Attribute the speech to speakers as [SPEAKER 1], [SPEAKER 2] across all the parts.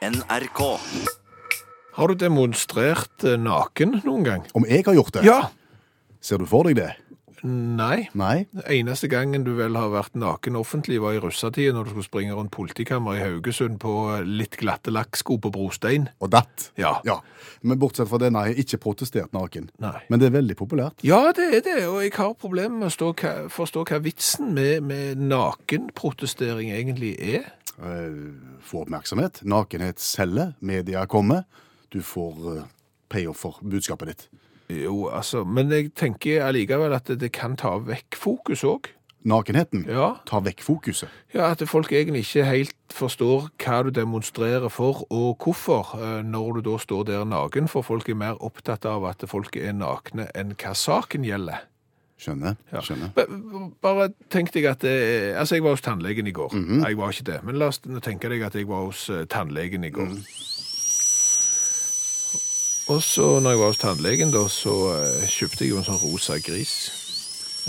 [SPEAKER 1] NRK.
[SPEAKER 2] Har du demonstrert eh, naken noen gang?
[SPEAKER 3] Om jeg har gjort det?
[SPEAKER 2] Ja.
[SPEAKER 3] Ser du for deg det?
[SPEAKER 2] Nei.
[SPEAKER 3] Nei.
[SPEAKER 2] Den eneste gangen du vel har vært naken offentlig, var i russetiden, når du skulle springe rundt politikammer i Haugesund på eh, litt glatte lakksko på brostein.
[SPEAKER 3] Og datt?
[SPEAKER 2] Ja.
[SPEAKER 3] ja. Men bortsett fra det, nei, ikke protestert naken.
[SPEAKER 2] Nei.
[SPEAKER 3] Men det er veldig populært.
[SPEAKER 2] Ja, det er det, og jeg har problemer med å stå, hva- forstå hva vitsen med, med nakenprotestering egentlig er.
[SPEAKER 3] Eh, Få oppmerksomhet. Nakenhet selger. Media kommer. Du får eh, payoff for budskapet ditt.
[SPEAKER 2] Jo, altså, men jeg tenker allikevel at det kan ta vekk fokus òg.
[SPEAKER 3] Nakenheten
[SPEAKER 2] Ja.
[SPEAKER 3] tar vekk fokuset.
[SPEAKER 2] ja, at folk egentlig ikke helt forstår hva du demonstrerer for og hvorfor, eh, når du da står der naken, for folk er mer opptatt av at folk er nakne enn hva saken gjelder.
[SPEAKER 3] Skjønner.
[SPEAKER 2] Ja.
[SPEAKER 3] Skjønner.
[SPEAKER 2] B- b- Bare tenk deg at eh, Altså, jeg var hos tannlegen i går.
[SPEAKER 3] Mhm.
[SPEAKER 2] Nei, jeg var ikke det. Men la oss nå tenke deg at jeg var hos eh, tannlegen i går.
[SPEAKER 3] Mhm.
[SPEAKER 2] Og så, når jeg var hos tannlegen, da, så eh, kjøpte jeg jo en sånn rosa gris.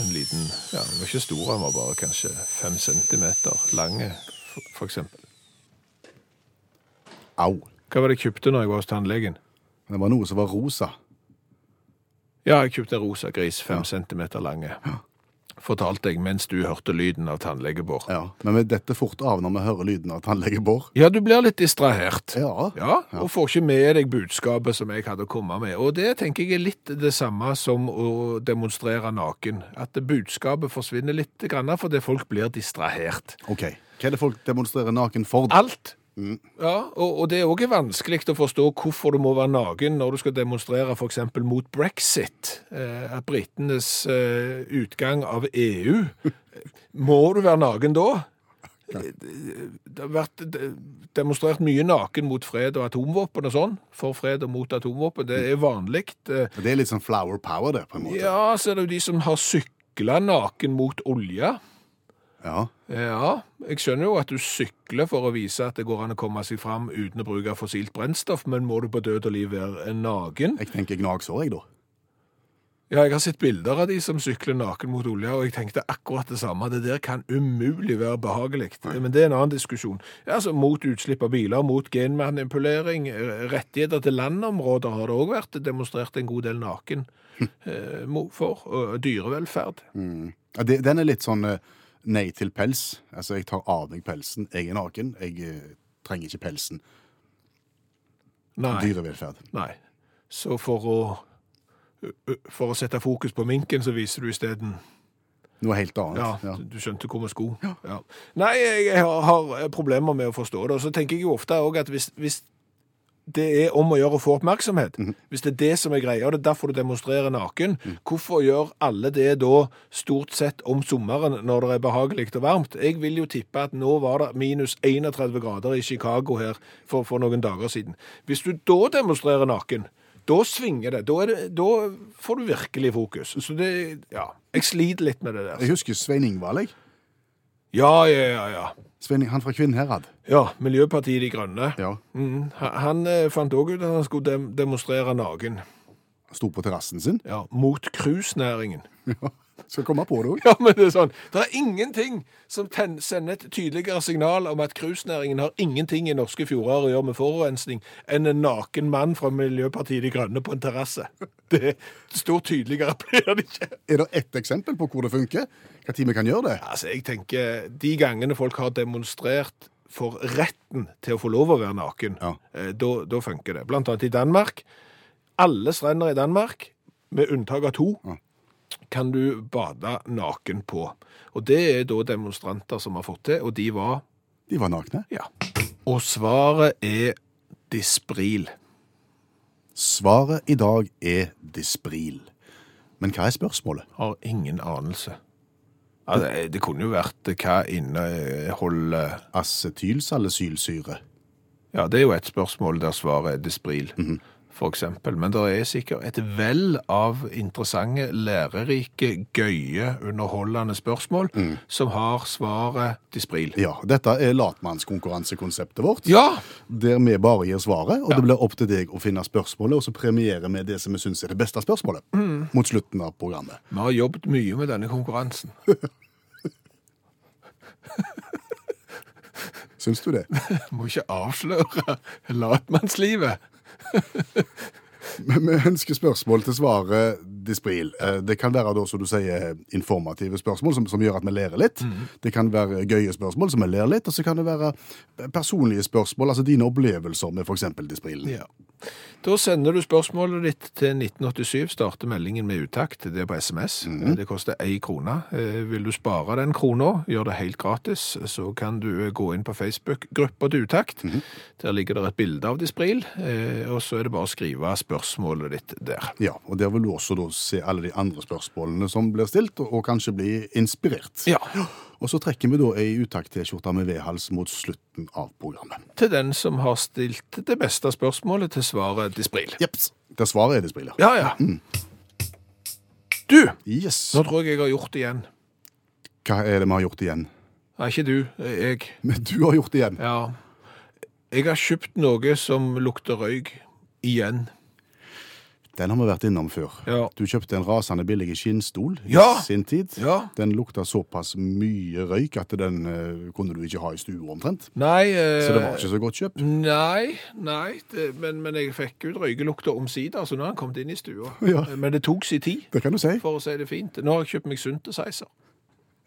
[SPEAKER 2] En liten Ja, den var ikke stor, den var bare kanskje fem centimeter lang, eh, for eksempel.
[SPEAKER 3] Au.
[SPEAKER 2] Hva var det jeg kjøpte når jeg var hos tannlegen?
[SPEAKER 3] Det var noe som var rosa.
[SPEAKER 2] Ja, jeg kjøpte en rosa gris, fem centimeter lang. eh, Fortalte jeg mens du hørte lyden av tannlege Bård.
[SPEAKER 3] Ja. Men vi detter fort av når vi hører lyden av tannlege Bård.
[SPEAKER 2] Ja, du blir litt distrahert.
[SPEAKER 3] Ja.
[SPEAKER 2] Ja, og får ikke med deg budskapet som jeg hadde å komme med. Og det tenker jeg er litt det samme som å demonstrere naken. At budskapet forsvinner litt grann, fordi folk blir distrahert.
[SPEAKER 3] OK. Hva er det folk demonstrerer naken for? da?
[SPEAKER 2] Alt. Ja, og, og det er òg vanskelig å forstå hvorfor du må være naken når du skal demonstrere f.eks. mot brexit. Eh, at britenes eh, utgang av EU. Må du være naken da? Det har vært eh, demonstrert mye naken mot fred og atomvåpen og sånn. For fred og mot atomvåpen. Det er vanlig. Eh,
[SPEAKER 3] Det er litt sånn flower power, det, på en måte.
[SPEAKER 2] Ja, så er det jo de som har sykla naken mot olje.
[SPEAKER 3] Ja.
[SPEAKER 2] Ja, jeg skjønner jo at du sykler for å vise at det går an å komme seg fram uten å bruke fossilt brennstoff, men må du på død og liv være naken?
[SPEAKER 3] Jeg tenker gnagsår, jeg, da.
[SPEAKER 2] Ja, jeg har sett bilder av de som sykler naken mot olja, og jeg tenkte akkurat det samme. Det der kan umulig være behagelig. Men det er en annen diskusjon. Ja, altså, Mot utslipp av biler, mot genmanipulering, eh, rettigheter til landområder har det òg vært demonstrert en god del naken eh, mo- for. Og dyrevelferd.
[SPEAKER 3] Ja, det, den er litt sånn eh, nei til pels. Altså, jeg tar av meg pelsen. Jeg er naken. Jeg eh, trenger ikke pelsen.
[SPEAKER 2] Nei.
[SPEAKER 3] Dyrevelferd.
[SPEAKER 2] Nei. Så for å for å sette fokus på minken, så viser du isteden
[SPEAKER 3] Noe helt
[SPEAKER 2] Ja,
[SPEAKER 3] annet. Ja.
[SPEAKER 2] du skjønte hvor vi skulle. Ja. Nei, jeg har, har eh, problemer med å forstå det. Og så tenker jeg jo ofte òg at hvis, hvis det er om å gjøre å få oppmerksomhet, hvis det er det som er greia, og det er derfor du demonstrerer naken, hvorfor gjør alle det da stort sett om sommeren når det er behagelig og varmt? Jeg vil jo tippe at nå var det minus 31 grader i Chicago her for, for noen dager siden. Hvis du da demonstrerer naken, da svinger det. Da, er det. da får du virkelig fokus. Så det Ja. Jeg sliter litt med det der.
[SPEAKER 3] Jeg husker Svein Ingvald, jeg.
[SPEAKER 2] Ja, ja, ja, ja.
[SPEAKER 3] Svein, han fra Kvinnherad.
[SPEAKER 2] Ja, Miljøpartiet De Grønne.
[SPEAKER 3] Ja.
[SPEAKER 2] Mm, ha- han eh, fant òg ut at han skulle dem demonstrere naken.
[SPEAKER 3] Sto på terrassen sin.
[SPEAKER 2] Ja, mot cruisenæringen.
[SPEAKER 3] Ja. Skal komme på det òg.
[SPEAKER 2] Ja, men det er sånn. Det er ingenting som ten, sender et tydeligere signal om at cruisenæringen har ingenting i norske fjorder å gjøre med forurensning, enn en naken mann fra Miljøpartiet De Grønne på en terrasse. Det står tydeligere blir det ikke.
[SPEAKER 3] Er det ett eksempel på hvor det funker? Hva tid vi kan gjøre det?
[SPEAKER 2] Altså, jeg tenker, De gangene folk har demonstrert for retten til å få lov å være naken,
[SPEAKER 3] Ja.
[SPEAKER 2] eh, da da funker det. Blant annet i Danmark. Alle strender i Danmark, med unntak av to,
[SPEAKER 3] Ja.
[SPEAKER 2] kan du bade naken på. Og det er da demonstranter som har fått til, og de var
[SPEAKER 3] De var nakne.
[SPEAKER 2] ja. Og svaret er dispril.
[SPEAKER 3] Svaret i dag er dispril. Men hva er spørsmålet?
[SPEAKER 2] Har ingen anelse. Altså, det kunne jo vært eh, hva inneholder
[SPEAKER 3] Acetylsalicylsyre.
[SPEAKER 2] Ja, det er jo et spørsmål der svaret er dispril, for eksempel. Men det er sikkert et vell av interessante, lærerike, gøye, underholdende spørsmål som har svaret dispril.
[SPEAKER 3] Ja, dette er latmannskonkurransekonseptet vårt.
[SPEAKER 2] Ja!
[SPEAKER 3] Der vi bare gir svaret, og det blir opp til deg å finne spørsmålet, og så premierer vi det som vi syns er det beste spørsmålet mot slutten av programmet.
[SPEAKER 2] Vi har jobbet mye med denne konkurransen.
[SPEAKER 3] Syns du det?
[SPEAKER 2] Må ikke avsløre latmannslivet.
[SPEAKER 3] Men Vi ønsker spørsmål til svaret Dispril. Eh, Det kan være da, som du sier, informative spørsmål som, som gjør at vi ler litt. Det kan være gøye spørsmål som vi ler litt, og så kan det være personlige spørsmål, altså dine opplevelser med f.eks. Disprilen.
[SPEAKER 2] Ja. Da sender du spørsmålet ditt til 1987, starter meldingen med uttakt, det er på SMS. Det koster ei krone. Eh, Vil du spare den krona, gjør det helt gratis, så kan du eh, gå inn på Facebook-gruppa til uttakt. Der ligger det et bilde av Dispril, eh, og så er det bare å skrive spørsmålet ditt der.
[SPEAKER 3] Ja, og Der vil du også da se alle de andre spørsmålene som blir stilt, og, og kanskje bli inspirert.
[SPEAKER 2] Ja,
[SPEAKER 3] Og så trekker vi da ei utakt-T-skjorte med V-hals mot slutten av programmet.
[SPEAKER 2] til den som har stilt det beste spørsmålet til svaret Dispril.
[SPEAKER 3] Jepps. Der svaret er Dispril, ja.
[SPEAKER 2] Ja, ja. Du,
[SPEAKER 3] Yes.
[SPEAKER 2] nå tror jeg jeg har gjort det igjen.
[SPEAKER 3] Hva er det vi har gjort igjen?
[SPEAKER 2] Nei, ikke du, eh, jeg.
[SPEAKER 3] Men du har gjort det igjen.
[SPEAKER 2] Ja. Jeg har kjøpt noe som lukter røyk. Igjen.
[SPEAKER 3] Den har vi vært innom før.
[SPEAKER 2] Ja.
[SPEAKER 3] Du kjøpte en rasende billig skinnstol i
[SPEAKER 2] Ja!
[SPEAKER 3] sin tid.
[SPEAKER 2] Ja.
[SPEAKER 3] Den lukta såpass mye røyk at den eh, kunne du ikke ha i stua omtrent.
[SPEAKER 2] Nei eh,
[SPEAKER 3] Så det var ikke så godt kjøp.
[SPEAKER 2] Nei, nei det, men, men jeg fikk ut røykelukta omsider, så nå har han kommet inn i stua.
[SPEAKER 3] Ja.
[SPEAKER 2] Men det tok sin tid,
[SPEAKER 3] Det kan du si.
[SPEAKER 2] for å si det fint. Nå har jeg kjøpt meg synthesizer.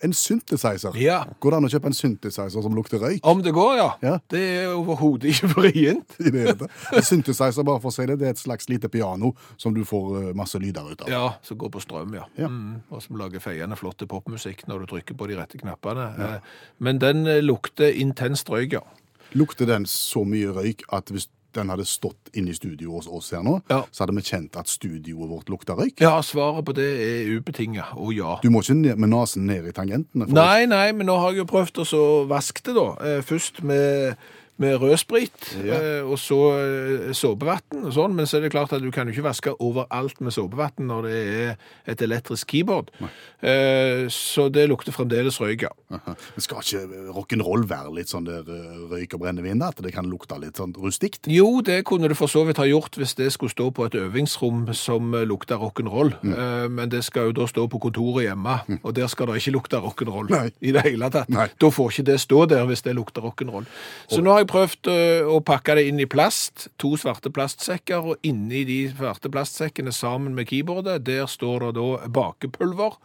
[SPEAKER 3] En synthesizer.
[SPEAKER 2] Ja.
[SPEAKER 3] Går det an å kjøpe en synthesizer som lukter røyk?
[SPEAKER 2] Om det går, ja.
[SPEAKER 3] Ja.
[SPEAKER 2] Det er overhodet ikke vrient.
[SPEAKER 3] I det hele tatt? En synthesizer, bare for å si det, det er et slags lite piano som du får eh, masse lyder ut av.
[SPEAKER 2] Ja, som går på strøm, ja.
[SPEAKER 3] Ja.
[SPEAKER 2] Mm, og som lager feiende flotte popmusikk når du trykker på de rette knappene. Eh, Men den eh, lukter intenst røyk, ja.
[SPEAKER 3] Lukter den så mye røyk at hvis den hadde stått inne i studioet hos oss her nå,
[SPEAKER 2] Ja.
[SPEAKER 3] så hadde vi kjent at studioet vårt lukta røyk?
[SPEAKER 2] Ja, svaret på det er ubetinga, og ja.
[SPEAKER 3] Du må ikke ned, med nesen ned i tangentene. for
[SPEAKER 2] Nei, nei, men nå har jeg jo prøvd å så vaske det, da. Eh, Først med, med rødsprit,
[SPEAKER 3] Ja.
[SPEAKER 2] eh, og så eh, såpevann og sånn. Men så er det klart at du kan jo ikke vaske overalt med såpevann når det er et elektrisk keyboard. Eh, Så det lukter fremdeles røyk, ja.
[SPEAKER 3] Aha. Men skal ikke rock'n'roll være litt sånn der eh, røyk og brennevin? da? At det kan lukte litt sånn rustikt?
[SPEAKER 2] Jo, det kunne det for så vidt ha gjort hvis det skulle stå på et øvingsrom som eh, lukta rock'n'roll.
[SPEAKER 3] Mm.
[SPEAKER 2] Eh, Men det skal jo da stå på kontoret hjemme, og der skal det ikke lukte rock'n'roll
[SPEAKER 3] Nei.
[SPEAKER 2] i det hele tatt.
[SPEAKER 3] Nei.
[SPEAKER 2] Da får ikke det stå der hvis det lukter rock'n'roll. Så nå har jeg prøvd eh, å pakke det inn i plast, to svarte plastsekker, og inni de svarte plastsekkene sammen med keyboardet, der står det da bakepulver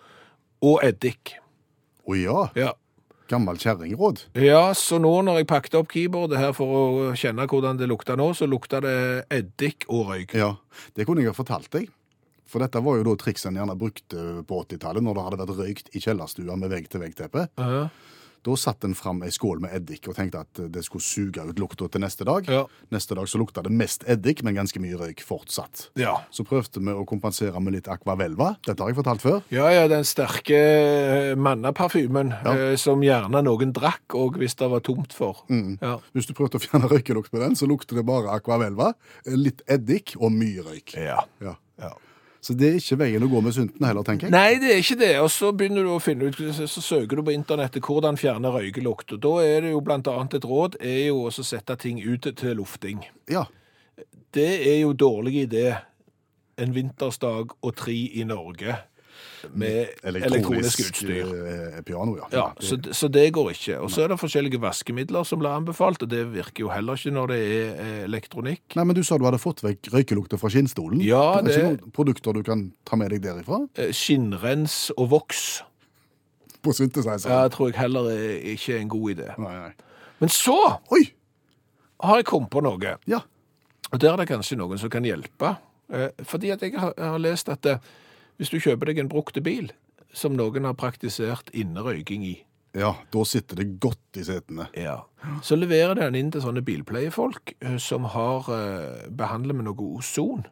[SPEAKER 2] og eddik.
[SPEAKER 3] Å ja,
[SPEAKER 2] Ja.
[SPEAKER 3] gammel kjerringråd.
[SPEAKER 2] Ja, så nå når jeg pakket opp keyboardet her for å kjenne hvordan det lukta nå, så lukta det eddik og røyk.
[SPEAKER 3] Ja, det kunne jeg ha fortalt deg. For dette var jo da triks en gjerne brukte på 80-tallet, når det hadde vært røykt i kjellerstua med vegg-til-vegg-teppe.
[SPEAKER 2] Ja.
[SPEAKER 3] Da satte en fram ei skål med eddik og tenkte at det skulle suge ut lukta til neste dag.
[SPEAKER 2] Ja.
[SPEAKER 3] Neste dag så lukta det mest eddik, men ganske mye røyk fortsatt.
[SPEAKER 2] Ja.
[SPEAKER 3] Så prøvde vi å kompensere med litt akvavelva. Dette har jeg fortalt før.
[SPEAKER 2] Ja, ja, den sterke eh, mannaparfymen eh, som gjerne noen drakk òg hvis det var tomt for. Ja.
[SPEAKER 3] Hvis du prøvde å fjerne røykelukt med den, så lukter det bare akvavelva, litt eddik og mye røyk.
[SPEAKER 2] ja.
[SPEAKER 3] Ja.
[SPEAKER 2] Ja.
[SPEAKER 3] Så det er ikke veien å gå med sunten heller, tenker jeg.
[SPEAKER 2] Nei, det er ikke det. Og så begynner du å finne ut, så så søker du på internettet hvordan fjerne røykelukt. Og da er det jo blant annet et råd er jo også å sette ting ut til lufting.
[SPEAKER 3] Ja,
[SPEAKER 2] Det er jo dårlig idé en vintersdag og tre i Norge med Mm. elektronisk, utstyr.
[SPEAKER 3] eh, piano, ja.
[SPEAKER 2] Ja, så, d- så det går ikke. Og så er det forskjellige vaskemidler som blir anbefalt, og det virker jo heller ikke når det er eh, elektronikk.
[SPEAKER 3] Nei, men du sa du hadde fått vekk røykelukta fra skinnstolen.
[SPEAKER 2] Ja,
[SPEAKER 3] det... er
[SPEAKER 2] det-
[SPEAKER 3] ikke noen produkter du kan ta med deg derifra?
[SPEAKER 2] Eh, Skinnrens og voks
[SPEAKER 3] På synthesizer?
[SPEAKER 2] ja, tror jeg heller er ikke er en god idé.
[SPEAKER 3] Nei, nei.
[SPEAKER 2] Men så
[SPEAKER 3] Oi!
[SPEAKER 2] har jeg kommet på noe,
[SPEAKER 3] Ja.
[SPEAKER 2] og der er det kanskje noen som kan hjelpe. Eh, Fordi at jeg har- har lest at eh, hvis du kjøper deg en brukte bil, som noen har praktisert innerøyking i,
[SPEAKER 3] ja, da sitter det godt i setene.
[SPEAKER 2] Ja. Så leverer den inn til sånne bilpleiefolk eh, som har eh, behandler med noe ozon.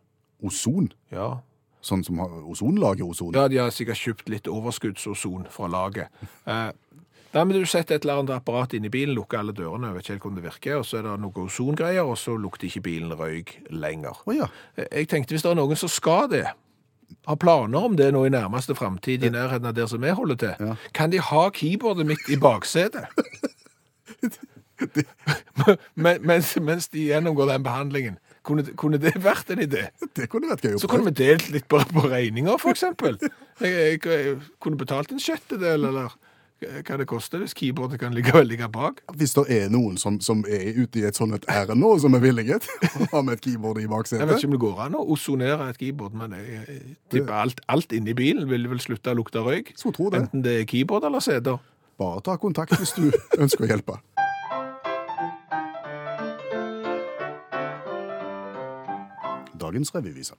[SPEAKER 3] Ozon?
[SPEAKER 2] Ja.
[SPEAKER 3] Sånn som har ozonlaget ozon?
[SPEAKER 2] ja, de har sikkert kjøpt litt overskuddsozon fra laget. Eh, nei, men du setter et eller annet apparat inn i bilen, lukker alle dørene, jeg vet ikke helt hvordan det virker, og så er det noe ozongreier, og så lukter ikke bilen røyk lenger.
[SPEAKER 3] Å ja.
[SPEAKER 2] Eh, Jeg tenkte hvis det er noen som skal det, har planer om det nå i nærmeste fremtid, i nærheten av der som jeg holder til,
[SPEAKER 3] Ja.
[SPEAKER 2] kan de ha keyboardet mitt i baksetet? Men, mens, mens de gjennomgår den behandlingen, kunne, kunne det vært en idé?
[SPEAKER 3] Det kunne vært gøy å
[SPEAKER 2] Så kunne vi delt litt på, på regninger, for eksempel. Jeg, jeg, jeg kunne betalt en sjettedel, eller hva det koster hvis keyboardet kan ligge, ligge bak.
[SPEAKER 3] Hvis det er noen som, som er ute i et sånt et ærend nå, som er villige til å ha med et keyboard i
[SPEAKER 2] Jeg vet
[SPEAKER 3] baksetet
[SPEAKER 2] ikke om det går an å ozonere et keyboard, men jeg, jeg tipper alt, alt inni bilen vil vel slutte å lukte røyk.
[SPEAKER 3] Så tro det.
[SPEAKER 2] Enten det er keyboard eller CD-er.
[SPEAKER 3] Bare ta kontakt hvis du ønsker å hjelpe. Dagens revyvise.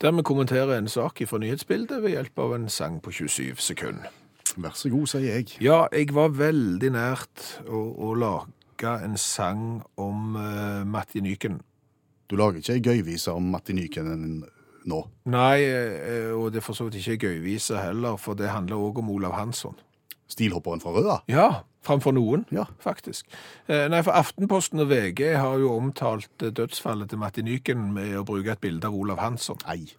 [SPEAKER 2] Der vi kommenterer en sak fra nyhetsbildet ved hjelp av en sang på 27 sekunder.
[SPEAKER 3] Vær så god, sier jeg.
[SPEAKER 2] Ja, jeg var veldig nært å, å lage en sang om eh, Matti Nyken.
[SPEAKER 3] Du lager ikke ei gøyvise om Matti Nykänen nå.
[SPEAKER 2] Nei, eh, og det er for så vidt ikke gøyvise heller, for det handler også om Olav Hansson.
[SPEAKER 3] Stilhopperen fra Røa?
[SPEAKER 2] Ja, framfor noen,
[SPEAKER 3] Ja.
[SPEAKER 2] faktisk. Eh, Nei, for Aftenposten og VG har jo omtalt eh, dødsfallet til Matti Nyken med å bruke et bilde av Olav Hansson.
[SPEAKER 3] Nei,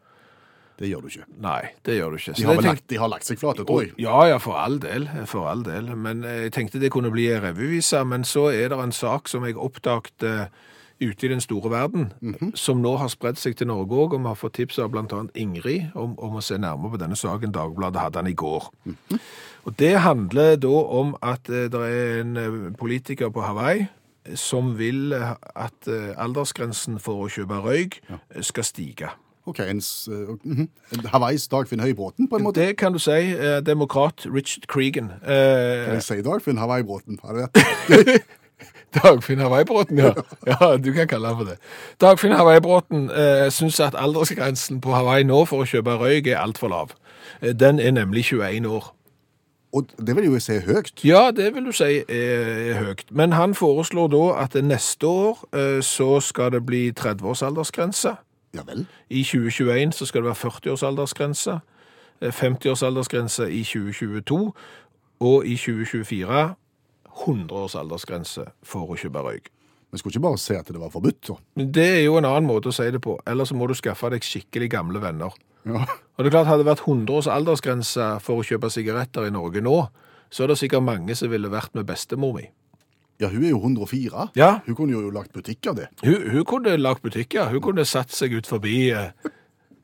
[SPEAKER 3] det gjør du ikke.
[SPEAKER 2] Nei, det gjør du ikke.
[SPEAKER 3] De har,
[SPEAKER 2] det
[SPEAKER 3] vel
[SPEAKER 2] tenk-
[SPEAKER 3] lagt, de har lagt seg flate, tror jeg.
[SPEAKER 2] Ja, ja, for all del. For all del. Men eh, jeg tenkte det kunne bli en revyvise, men så er det en sak som jeg oppdaget eh, ute i den store verden, som nå har spredt seg til Norge òg, og vi har fått tips av bl.a. Ingrid om, om å se nærmere på denne saken. Dagbladet hadde den i går. Og Det handler da om at eh, det er en eh, politiker på Hawaii som vil eh, at eh, aldersgrensen for å kjøpe røyk eh, skal stige.
[SPEAKER 3] Ok, en, s- eh, mhm. En Hawaiis Dagfinn Høybråten, på en måte.
[SPEAKER 2] Det kan du si. eh, Demokrat Richard Cregan.
[SPEAKER 3] Kan
[SPEAKER 2] Eh,
[SPEAKER 3] jeg si Dagfinn Hawaii-bråten? Har det vært-
[SPEAKER 2] Dagfinn Havaibråten, ja. Ja, du kan kalle han for det. Dagfinn Havaibråten eh, syns at aldersgrensen på Hawaii nå for å kjøpe røyk er altfor lav. Eh, Den er nemlig 21 år.
[SPEAKER 3] Og det vil jo jeg si er høyt.
[SPEAKER 2] Ja, det vil du si er, er høyt. Men han foreslår da at neste år eh, så skal det bli 30 års aldersgrense.
[SPEAKER 3] Ja vel.
[SPEAKER 2] I 2021 så skal det være 40 års aldersgrense, eh, 50 års aldersgrense i 2022, og i 2024 100 års aldersgrense for å kjøpe røyk.
[SPEAKER 3] Vi skulle ikke bare se at det var forbudt, så.
[SPEAKER 2] Men Det er jo en annen måte å si det på. Eller så må du skaffe deg skikkelig gamle venner.
[SPEAKER 3] Ja.
[SPEAKER 2] Og det er klart, Hadde det vært 100 års aldersgrense for å kjøpe sigaretter i Norge nå, så er det sikkert mange som ville vært med bestemor mi.
[SPEAKER 3] ja, hun er jo 104.
[SPEAKER 2] Ja.
[SPEAKER 3] Hun kunne jo lagt butikk av det.
[SPEAKER 2] Hun, hun kunne lagd butikker. Hun kunne satt seg ut forbi eh,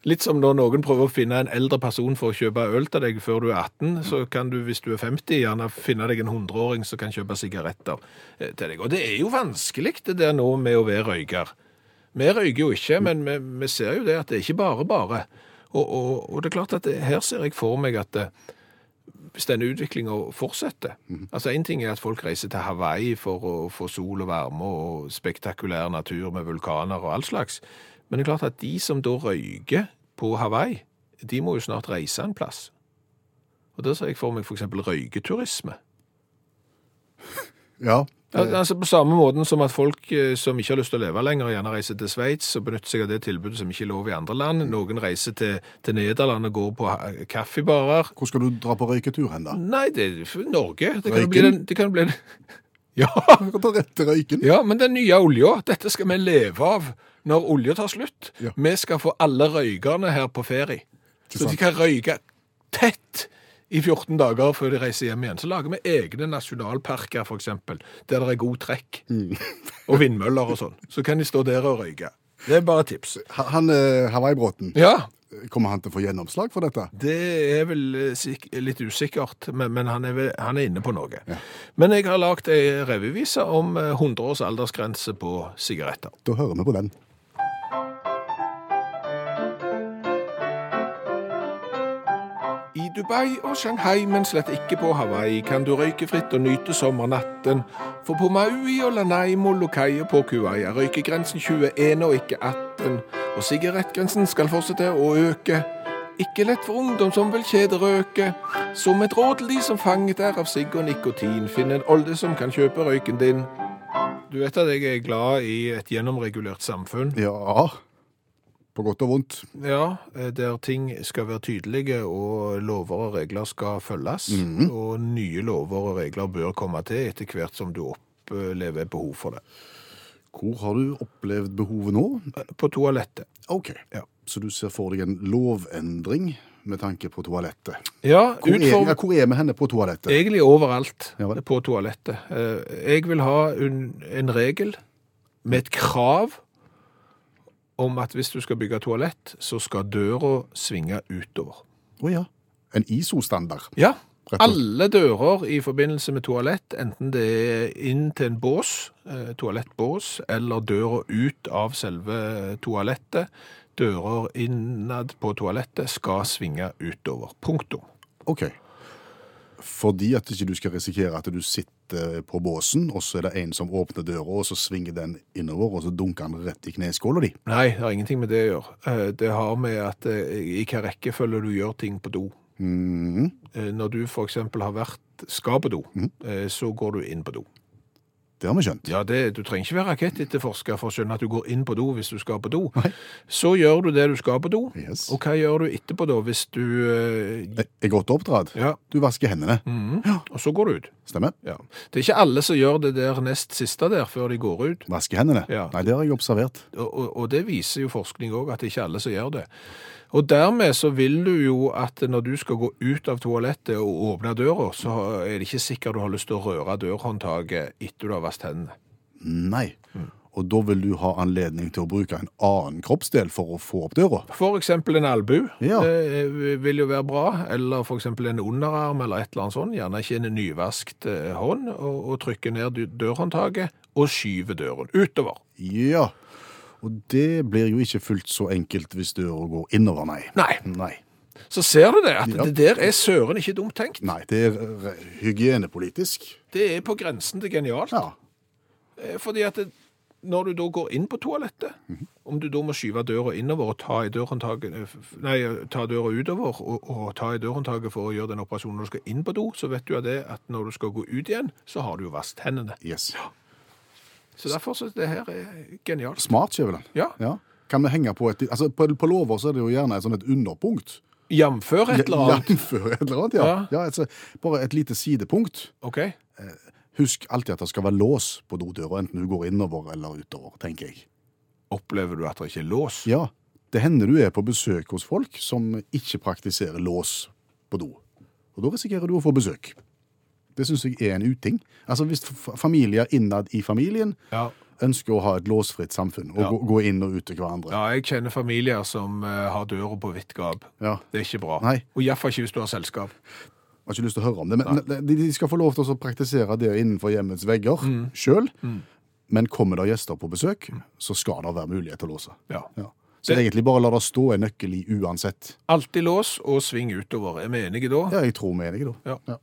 [SPEAKER 2] Litt som når noen prøver å finne en eldre person for å kjøpe øl til deg før du er 18, så kan du, hvis du er 50, gjerne finne deg en 100-åring som kan kjøpe sigaretter eh, til deg. Og det er jo vanskelig det der nå med å være røyker. Vi røyker jo ikke, men vi, vi ser jo det at det er ikke bare bare. Og, og, og det er klart at det, her ser jeg for meg at eh, hvis denne utviklinga fortsetter Altså Én ting er at folk reiser til Hawaii for å få sol og varme og spektakulær natur med vulkaner og all slags, men det er klart at de som da røyker på Hawaii, de må jo snart reise en plass. Og Der ser jeg for meg f.eks. røyketurisme.
[SPEAKER 3] Ja.
[SPEAKER 2] Al- Altså På samme måten som at folk eh, som ikke har lyst til å leve lenger, gjerne reiser til Sveits og benytter seg av det tilbudet som ikke er lov i andre land. Noen reiser til, til Nederland og går på ha- kaffebarer.
[SPEAKER 3] Hvor skal du dra på røyketur hen, da?
[SPEAKER 2] Nei, det er f- Norge. Det kan jo
[SPEAKER 3] Røyken?
[SPEAKER 2] bli den, det kan jo bli den. Ja,
[SPEAKER 3] Du kan ta rett til røyken.
[SPEAKER 2] ja, men den nye olja, dette skal vi leve av når olja tar slutt.
[SPEAKER 3] Ja.
[SPEAKER 2] Vi skal få alle røykerne her på ferie.
[SPEAKER 3] Ikke
[SPEAKER 2] Så de
[SPEAKER 3] sant?
[SPEAKER 2] kan røyke tett i 14 dager før de reiser hjem igjen. Så lager vi egne nasjonalparker, for eksempel, der det er god trekk.
[SPEAKER 3] Mm.
[SPEAKER 2] Og vindmøller og sånn. Så kan de stå der og røyke. Det er bare tips.
[SPEAKER 3] Ha- Han eh, Hawaii-bråten,
[SPEAKER 2] Ja,
[SPEAKER 3] kommer han til å få gjennomslag for dette?
[SPEAKER 2] Det er vel eh, sik- litt usikkert, men, men han, er vel, han er inne på noe. Men jeg har lagd ei revyvise om eh, 100 års aldersgrense på sigaretter.
[SPEAKER 3] Da hører vi på den.
[SPEAKER 2] I Dubai og Shanghai, men slett ikke på Hawaii, kan du røyke fritt og nyte sommernatten. For på Maui og Lanai, Molokai og på Kauai er røykegrensen 21 og ikke 18. Og sigarettgrensen skal fortsette å øke. Ikke lett for ungdom som vil kjederøke. Som et råd til de som fanget er av sigg og nikotin, finn en olde som kan kjøpe røyken din. Du vet at jeg er glad i et gjennomregulert samfunn.
[SPEAKER 3] Ja. På godt og vondt.
[SPEAKER 2] Ja, eh, der ting skal være tydelige, og lover og regler skal følges.
[SPEAKER 3] Mhm.
[SPEAKER 2] Og nye lover og regler bør komme til etter hvert som du opplever behov for det.
[SPEAKER 3] Hvor har du opplevd behovet nå?
[SPEAKER 2] Eh, På toalettet.
[SPEAKER 3] Ok.
[SPEAKER 2] Ja.
[SPEAKER 3] Så du ser for deg en lovendring med tanke på toalettet.
[SPEAKER 2] Ja,
[SPEAKER 3] Hvor er, ja,
[SPEAKER 2] utfor...
[SPEAKER 3] hvor er vi henne på toalettet?
[SPEAKER 2] Egentlig overalt
[SPEAKER 3] Ja vel.
[SPEAKER 2] på toalettet. Eh, Jeg vil ha en, en regel med et krav om at hvis du skal bygge
[SPEAKER 3] Eh.
[SPEAKER 2] toalett, så skal døra svinge utover.
[SPEAKER 3] Å ja. En ISO-standard.
[SPEAKER 2] Ja,
[SPEAKER 3] rett og slett.
[SPEAKER 2] Alle dører i forbindelse med toalett, enten det er inn til en bås, eh, toalettbås, eller døra ut av selve toalettet, dører innad på toalettet skal svinge utover. Punktum.
[SPEAKER 3] Ok. Fordi at ikke du skal risikere at du sitter på båsen, og så er det en som åpner døra, og så svinger den innover, og så dunker han rett i kneskåla di.
[SPEAKER 2] Nei, det har ingenting med det å gjøre. Eh, Det har med at eh, i hva rekkefølge du gjør ting på do.
[SPEAKER 3] Mhm.
[SPEAKER 2] Eh, Når du for eksempel har vært, skal på do,
[SPEAKER 3] Mm.
[SPEAKER 2] eh, så går du inn på do.
[SPEAKER 3] Det har vi skjønt.
[SPEAKER 2] Ja, det, Du trenger ikke være rakettetterforsker for å skjønne at du går inn på do hvis du skal på do. Så gjør du det du skal på do,
[SPEAKER 3] Yes.
[SPEAKER 2] og hva gjør du etterpå da hvis du eh,
[SPEAKER 3] Jeg er godt oppdratt.
[SPEAKER 2] Ja, Mm.
[SPEAKER 3] Du vasker hendene.
[SPEAKER 2] og så går du ut.
[SPEAKER 3] Stemmer?
[SPEAKER 2] Ja. Det er ikke alle som gjør det der nest siste der før de går ut.
[SPEAKER 3] Vaske hendene.
[SPEAKER 2] Ja.
[SPEAKER 3] Nei, det har jeg observert.
[SPEAKER 2] Og, og, og det viser jo forskning òg, at det er ikke alle som gjør det. Og dermed så vil du jo at når du skal gå ut av toalettet og åpne døra, så er det ikke sikkert du har lyst til å røre dørhåndtaket etter du har vasket hendene.
[SPEAKER 3] Nei.
[SPEAKER 2] Mm.
[SPEAKER 3] Og da vil du ha anledning til å bruke en annen kroppsdel for å få opp døra.
[SPEAKER 2] For eksempel en albu
[SPEAKER 3] Ja.
[SPEAKER 2] eh, vil jo være bra, eller for eksempel en underarm eller et eller annet sånt. Gjerne ikke en nyvaskt eh, hånd, og, og trykke ned d- dørhåndtaket og skyve døren utover.
[SPEAKER 3] Ja. Og det blir jo ikke fullt så enkelt hvis døra går innover, nei.
[SPEAKER 2] Nei,
[SPEAKER 3] Nei.
[SPEAKER 2] så ser du det, at
[SPEAKER 3] Ja.
[SPEAKER 2] det der er søren ikke dumt tenkt.
[SPEAKER 3] Nei, det er eh, hygienepolitisk.
[SPEAKER 2] Det er på grensen til genialt.
[SPEAKER 3] Ja.
[SPEAKER 2] Eh, Fordi at det, når du da går inn på toalettet,
[SPEAKER 3] Mhm.
[SPEAKER 2] om du da må skyve døra innover og ta i dørhåndtaket eh, f- Nei, ta døra utover og, og ta i dørhåndtaket for å gjøre den operasjonen når du skal inn på do, så vet du av det at når du skal gå ut igjen, så har du jo vasket hendene.
[SPEAKER 3] Yes.
[SPEAKER 2] Så derfor så det her er genialt.
[SPEAKER 3] Smart, Skjæveland.
[SPEAKER 2] Ja.
[SPEAKER 3] Kan vi henge på et altså På, på lover så er det jo gjerne et sånn et underpunkt.
[SPEAKER 2] Jamfør et eller annet.
[SPEAKER 3] Jevnfør et eller annet, ja.
[SPEAKER 2] Ja.
[SPEAKER 3] ja altså, bare et lite sidepunkt.
[SPEAKER 2] OK?
[SPEAKER 3] Husk alltid at det skal være lås på dodøra, enten du går innover eller utover, tenker jeg.
[SPEAKER 2] Opplever du at det ikke er lås?
[SPEAKER 3] Ja, det hender du er på besøk hos folk som ikke praktiserer lås på do. Og da risikerer du å få besøk. Det syns jeg er en uting. Altså Hvis f- familier innad i familien
[SPEAKER 2] Ja.
[SPEAKER 3] ønsker å ha et låsfritt samfunn og
[SPEAKER 2] Ja.
[SPEAKER 3] gå, gå inn og ut til hverandre.
[SPEAKER 2] Ja, jeg kjenner familier som eh, har døra på vidt gap.
[SPEAKER 3] Ja.
[SPEAKER 2] Det er ikke bra.
[SPEAKER 3] Nei.
[SPEAKER 2] Og iallfall ikke hvis du har selskap.
[SPEAKER 3] Jeg har ikke lyst til å høre om det, men de, de skal få lov til å praktisere det innenfor hjemmets vegger
[SPEAKER 2] Mm.
[SPEAKER 3] sjøl. Men kommer det gjester på besøk, så skal det være mulighet til å låse.
[SPEAKER 2] Ja.
[SPEAKER 3] Ja. Så
[SPEAKER 2] Det-
[SPEAKER 3] egentlig bare la det stå en nøkkel i uansett.
[SPEAKER 2] Alltid lås og sving utover. Er vi enige da?
[SPEAKER 3] Ja, jeg tror vi er enige, da.
[SPEAKER 2] Ja.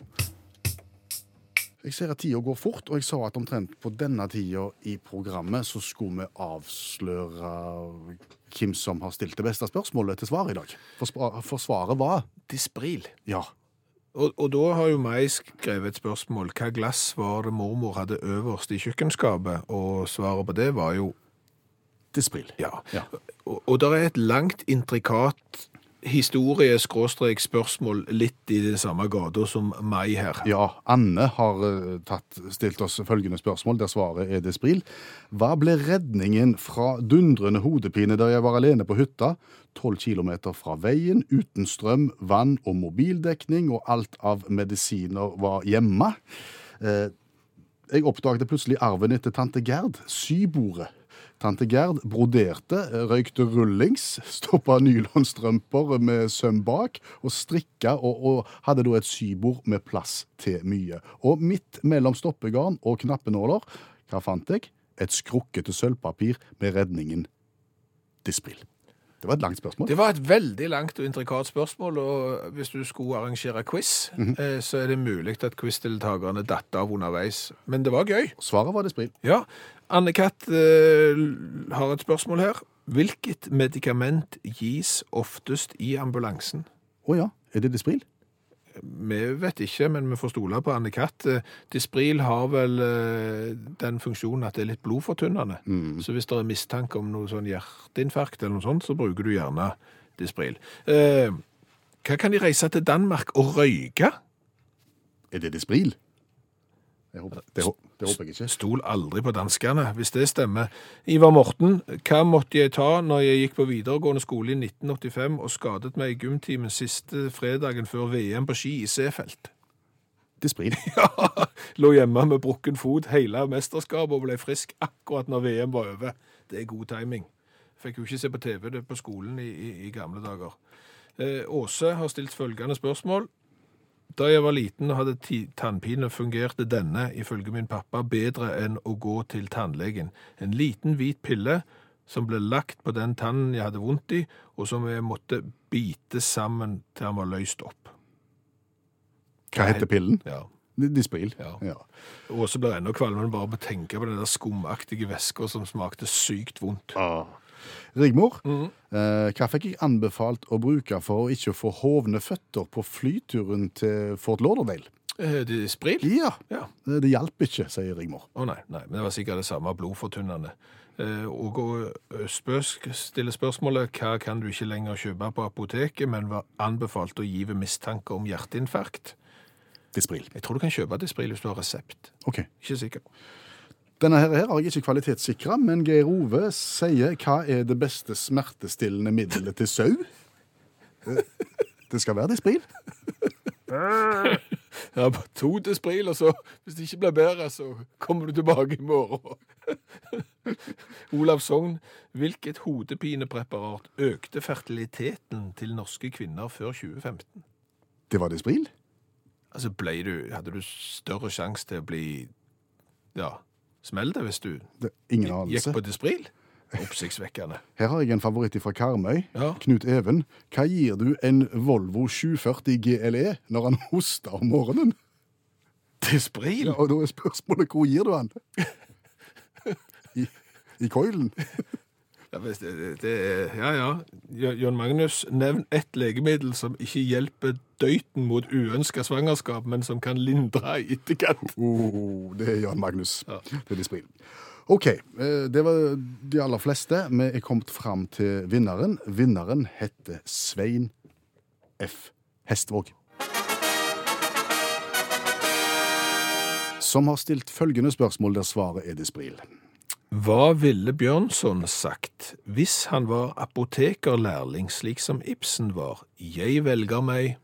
[SPEAKER 3] Jeg ser at tida går fort, og jeg sa at omtrent på denne tida i programmet så skulle vi avsløre hvem som har stilt det beste spørsmålet til svar i dag. For, spa- for svaret var
[SPEAKER 2] Dispril.
[SPEAKER 3] ja.
[SPEAKER 2] Og, og da har jo meg skrevet et spørsmål. Hva glass var det mormor hadde øverst i kjøkkenskapet? Og svaret på det var jo
[SPEAKER 3] Dispril.
[SPEAKER 2] ja.
[SPEAKER 3] Ja.
[SPEAKER 2] Og, og det er et langt, intrikat historie-spørsmål litt i det samme gata som meg her.
[SPEAKER 3] Ja, Anne har eh, tatt, stilt oss følgende spørsmål, der svaret er Despril. Hva ble redningen fra dundrende hodepine da jeg var alene på hytta, 12 km fra veien, uten strøm, vann og mobildekning, og alt av medisiner var hjemme? Eh, Jeg oppdaget plutselig arven etter tante Gerd, sybordet. Tante Gerd broderte, røykte rullings, stoppa nylonstrømper med søm bak, og strikka og, og hadde da et sybord med plass til mye. Og midt mellom stoppegarn og knappenåler, hva fant jeg? Et skrukkete sølvpapir med redningen Dispril. Det var et langt spørsmål.
[SPEAKER 2] Det var et veldig langt og intrikat spørsmål, og hvis du skulle arrangere quiz,
[SPEAKER 3] Mhm.
[SPEAKER 2] eh, så er det mulig at quizdeltakerne datt av underveis. Men det var gøy.
[SPEAKER 3] Svaret var Dispril.
[SPEAKER 2] Ja, Anne-Katt eh, har et spørsmål her. Hvilket medikament gis oftest i ambulansen?
[SPEAKER 3] Å ja, er det Dispril?
[SPEAKER 2] Vi vet ikke, men vi får stole på Anne-Katt. Eh, Dispril har vel eh, den funksjonen at det er litt blodfortynnende. Så hvis det er mistanke om noe sånn hjerteinfarkt eller noe sånt, så bruker du gjerne Dispril. Eh, hva kan de reise til Danmark og røyke?
[SPEAKER 3] Er det Dispril? Jeg håper, det, hå- det håper jeg ikke.
[SPEAKER 2] Stol aldri på danskene, hvis det stemmer. Ivar Morten, hva måtte jeg ta når jeg gikk på videregående skole i 1985 og skadet meg i gymtimen siste fredagen før VM på ski i Seefeld?
[SPEAKER 3] Dispril.
[SPEAKER 2] Lå hjemme med brukken fot hele mesterskapet og ble frisk akkurat når VM var over. Det er god timing. Fikk jo ikke se på TV det på skolen i, i, i gamle dager. Eh, Åse har stilt følgende spørsmål. Da jeg var liten og hadde ti- tannpine, fungerte denne, ifølge min pappa, bedre enn å gå til tannlegen. En liten hvit pille som ble lagt på den tannen jeg hadde vondt i, og som jeg måtte bite sammen til han var løst opp.
[SPEAKER 3] Hva heter pillen?
[SPEAKER 2] Ja.
[SPEAKER 3] Dispril.
[SPEAKER 2] Ja.
[SPEAKER 3] Ja.
[SPEAKER 2] Åse blir ennå kvalmen bare med å tenke på den der skumaktige væska som smakte sykt vondt.
[SPEAKER 3] Rigmor,
[SPEAKER 2] Mm.
[SPEAKER 3] eh, hva fikk jeg anbefalt å bruke for å ikke få hovne føtter på flyturen til Fort Lauderdale?
[SPEAKER 2] Eh, Det er spril?
[SPEAKER 3] Ja,
[SPEAKER 2] Ja.
[SPEAKER 3] det det hjalp ikke, sier Rigmor.
[SPEAKER 2] Å nei, nei, men det var sikkert det samme blodfortynnende. Eh, og Østbøsk stiller spørsmålet hva kan du ikke lenger kjøpe på apoteket, men var anbefalt å gi ved mistanke om hjerteinfarkt.
[SPEAKER 3] Dispril.
[SPEAKER 2] Jeg tror du kan kjøpe Dispril hvis du har resept.
[SPEAKER 3] Ok.
[SPEAKER 2] Ikke sikker.
[SPEAKER 3] Denne her, her har jeg ikke kvalitetssikra, men Geir Ove sier hva er det beste smertestillende middelet til sau? Eh, Det skal være Dispril.
[SPEAKER 2] Ja, bare to Dispril, og så hvis det ikke blir bedre, så kommer du tilbake i morgen. Olav Sogn, hvilket hodepinepreparat økte fertiliteten til norske kvinner før 2015?
[SPEAKER 3] Det var Dispril?
[SPEAKER 2] Altså, ble du, hadde du større sjanse til å bli ja, smeltet hvis du
[SPEAKER 3] Det, ingen
[SPEAKER 2] gikk
[SPEAKER 3] anelse.
[SPEAKER 2] på dispril? Oppsiktsvekkende.
[SPEAKER 3] Her har jeg en favoritt fra Karmøy.
[SPEAKER 2] Ja.
[SPEAKER 3] Knut Even. Hva gir du en Volvo 740 GLE E når han hoster om morgenen?
[SPEAKER 2] Dispril?
[SPEAKER 3] Ja, og da er spørsmålet hvor gir du han? I, i koilen?
[SPEAKER 2] Ja, hvis det, det, det, ja, ja. Jo- Jon Magnus, nevn ett legemiddel som ikke hjelper døyten mot uønska svangerskap, men som kan lindre i etterkant.
[SPEAKER 3] Oh, det er Jan Magnus.
[SPEAKER 2] Ja.
[SPEAKER 3] Det er Dispril. OK, eh, det var de aller fleste. Vi er kommet fram til vinneren. Vinneren heter Svein F. Hestvåg. Som har stilt følgende spørsmål der svaret er Dispril.
[SPEAKER 2] Hva ville Bjørnson sagt hvis han var apotekerlærling slik som Ibsen var? Jeg velger meg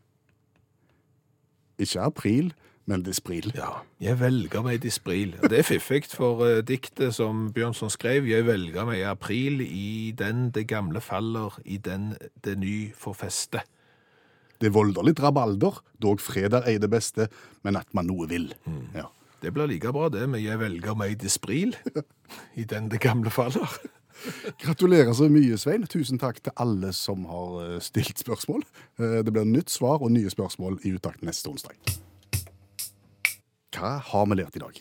[SPEAKER 3] Ikke april, men Dispril.
[SPEAKER 2] Ja, jeg velger meg dispril. Og Det er fiffigt for eh, diktet som Bjørnson skrev. Jeg velger meg i april, i den det gamle faller, i den det ny får feste.
[SPEAKER 3] Det er voldelig rabalder, dog fred er ei det beste, men at man noe vil.
[SPEAKER 2] Mm.
[SPEAKER 3] Ja.
[SPEAKER 2] Det blir like bra det, men jeg velger meg dispril, i den det gamle faller.
[SPEAKER 3] Gratulerer så mye, Svein. Tusen takk til alle som har eh, stilt spørsmål. Eh, Det blir nytt svar og nye spørsmål i utakt neste onsdag. Hva har vi lært i dag?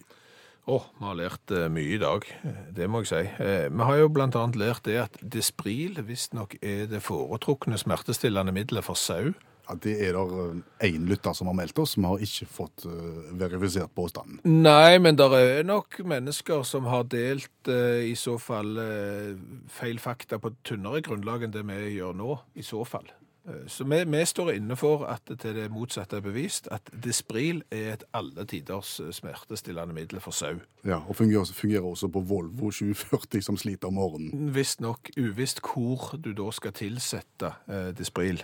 [SPEAKER 2] Å, vi har lært eh, mye i dag, Eh, det må jeg si. Eh, Vi har jo blant annet lært det at dispril visstnok er det foretrukne smertestillende middelet for sau.
[SPEAKER 3] Ja, det er det én lytter som har meldt oss, som har ikke fått eh, verifisert påstanden.
[SPEAKER 2] Nei, men det er nok mennesker som har delt eh, i så fall eh, feil fakta på tynnere grunnlag enn det vi gjør nå, i så fall. Eh, så vi, vi står inne for at det til det motsatte er bevist, at Dispril er et alle tiders eh, smertestillende middel for sau.
[SPEAKER 3] Ja, Og fungerer, fungerer også på Volvo 740, som sliter om morgenen.
[SPEAKER 2] Visstnok uvisst hvor du da skal tilsette eh, Dispril.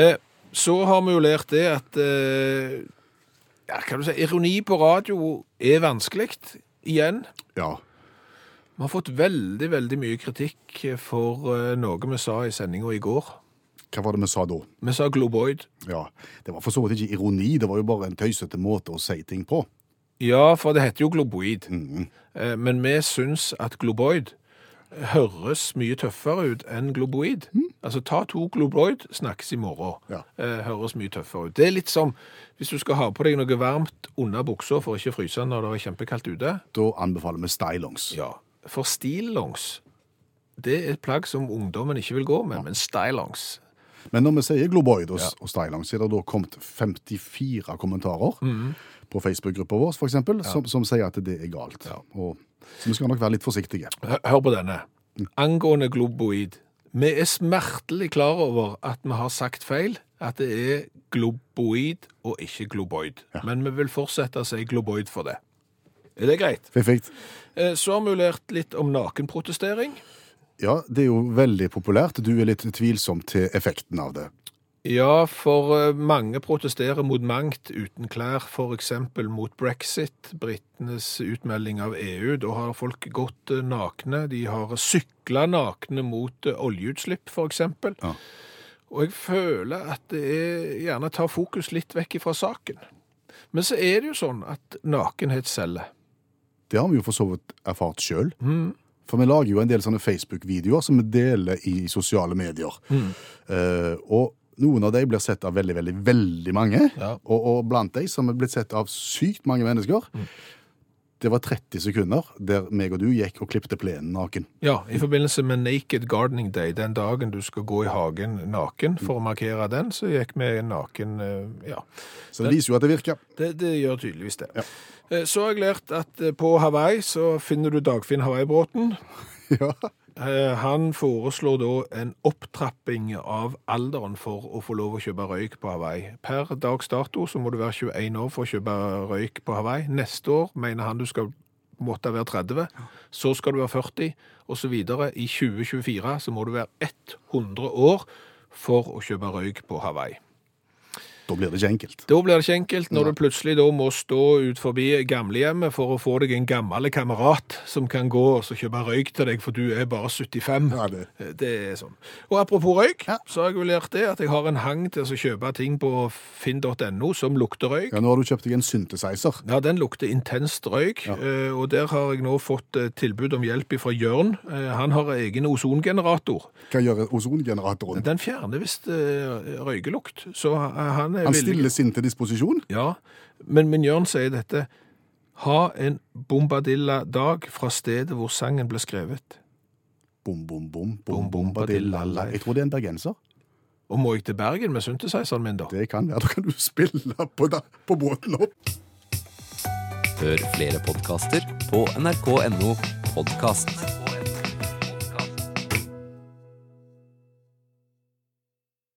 [SPEAKER 2] Eh, så har vi jo lært det at eh, ja, kan du si, ironi på radio er vanskelig igjen.
[SPEAKER 3] Ja,
[SPEAKER 2] Vi har fått veldig, veldig mye kritikk for eh, noe vi sa i sendinga i går.
[SPEAKER 3] Hva var det vi sa da?
[SPEAKER 2] Vi sa globoid.
[SPEAKER 3] Ja, Det var for så vidt ikke ironi, det var jo bare en tøysete måte å si ting på. Mm,
[SPEAKER 2] Ja, for det heter jo globoid. Eh, Men vi syns at globoid høres mye tøffere ut enn globoid. Altså ta to globoid, snakkes i morgen.
[SPEAKER 3] Ja.
[SPEAKER 2] Eh, Høres mye tøffere ut. Det er litt som hvis du skal ha på deg noe varmt under buksa for å ikke fryse når det er kjempekaldt ute.
[SPEAKER 3] Da anbefaler vi stylongs.
[SPEAKER 2] Ja, for stillongs det er et plagg som ungdommen ikke vil gå med, men stylongs
[SPEAKER 3] Men når vi sier globoid og, og stylongs, er det da kommet 54 kommentarer på Facebook-gruppa vår, for eksempel, som, som sier at det er galt. Og, så vi skal nok være litt forsiktige.
[SPEAKER 2] Hør hør på denne. Angående globoid. Vi er smertelig klar over at vi har sagt feil, at det er globoid og ikke globoid. Men vi vil fortsette å si globoid for det. Er det greit?
[SPEAKER 3] Fiffigt.
[SPEAKER 2] Eh, Så har vi jo lært litt om nakenprotestering.
[SPEAKER 3] Ja, det er jo veldig populært. Du er litt tvilsom til effekten av det.
[SPEAKER 2] Ja, for eh, mange protesterer mot mangt uten klær, f.eks. mot brexit, britenes utmelding av EU. Da har folk gått eh, nakne. De har sykla nakne mot eh, oljeutslipp, f.eks.
[SPEAKER 3] Ja.
[SPEAKER 2] Og jeg føler at det er, gjerne tar fokus litt vekk fra saken. Men så er det jo sånn at nakenhet selger. Mm.
[SPEAKER 3] Det har vi jo for så vidt erfart sjøl. For vi lager jo en del sånne Facebook-videoer som vi deler i sosiale medier. Eh, og noen av dem blir sett av veldig, veldig, veldig mange.
[SPEAKER 2] Ja.
[SPEAKER 3] Og, og blant dem som er blitt sett av sykt mange mennesker. Det var 30 sekunder der meg og du gikk og klipte plenen naken.
[SPEAKER 2] Ja, i forbindelse med Naked Gardening Day, den dagen du skal gå i hagen naken for å markere den, så gikk vi naken eh, Ja.
[SPEAKER 3] Så det viser jo at det virker.
[SPEAKER 2] Det, det gjør tydeligvis det. Eh, Så har jeg lært at eh, på Hawaii så finner du Dagfinn Hawaii-båten.
[SPEAKER 3] ja.
[SPEAKER 2] Eh, Han foreslår da en opptrapping av alderen for å få lov å kjøpe røyk på Hawaii. Per dags dato så må du være 21 år for å kjøpe røyk på Hawaii. Neste år mener han du skal måtte være 30, så skal du være 40, og så videre. I 2024 så må du være 100 år for å kjøpe røyk på Hawaii.
[SPEAKER 3] Da blir det ikke enkelt.
[SPEAKER 2] Da blir det ikke enkelt når du plutselig da må stå ut forbi gamlehjemmet for å få deg en gammel kamerat som kan gå og så kjøpe røyk til deg, for du er bare 75.
[SPEAKER 3] Ja, det.
[SPEAKER 2] Det er sånn. Og apropos røyk,
[SPEAKER 3] Ja.
[SPEAKER 2] så har jeg jo lært det at jeg har en hang til å kjøpe ting på finn.no som lukter røyk.
[SPEAKER 3] ja, nå har du kjøpt deg en synthesizer.
[SPEAKER 2] Ja, den lukter intenst røyk, eh, og der har jeg nå fått eh, tilbud om hjelp fra Jørn. Eh, Han har egen ozongenerator.
[SPEAKER 3] Hva gjør ozongeneratoren?
[SPEAKER 2] Den fjerner visst eh, røykelukt, så eh, han er
[SPEAKER 3] Han
[SPEAKER 2] villig-
[SPEAKER 3] stiller sin til disposisjon.
[SPEAKER 2] Ja, men min Jørn sier dette. Ha en bombadilla-dag fra stedet hvor sangen ble skrevet.
[SPEAKER 3] Bom, bom, bom, bom,
[SPEAKER 2] Bom,
[SPEAKER 3] bom,
[SPEAKER 2] bom,
[SPEAKER 3] badillala. Jeg tror det er en bergenser.
[SPEAKER 2] Og må jeg til Bergen med synthesizeren min, da?
[SPEAKER 3] Det kan være. Da kan du spille på, da, på båten opp.
[SPEAKER 1] Hør flere podkaster på nrk.no podkast.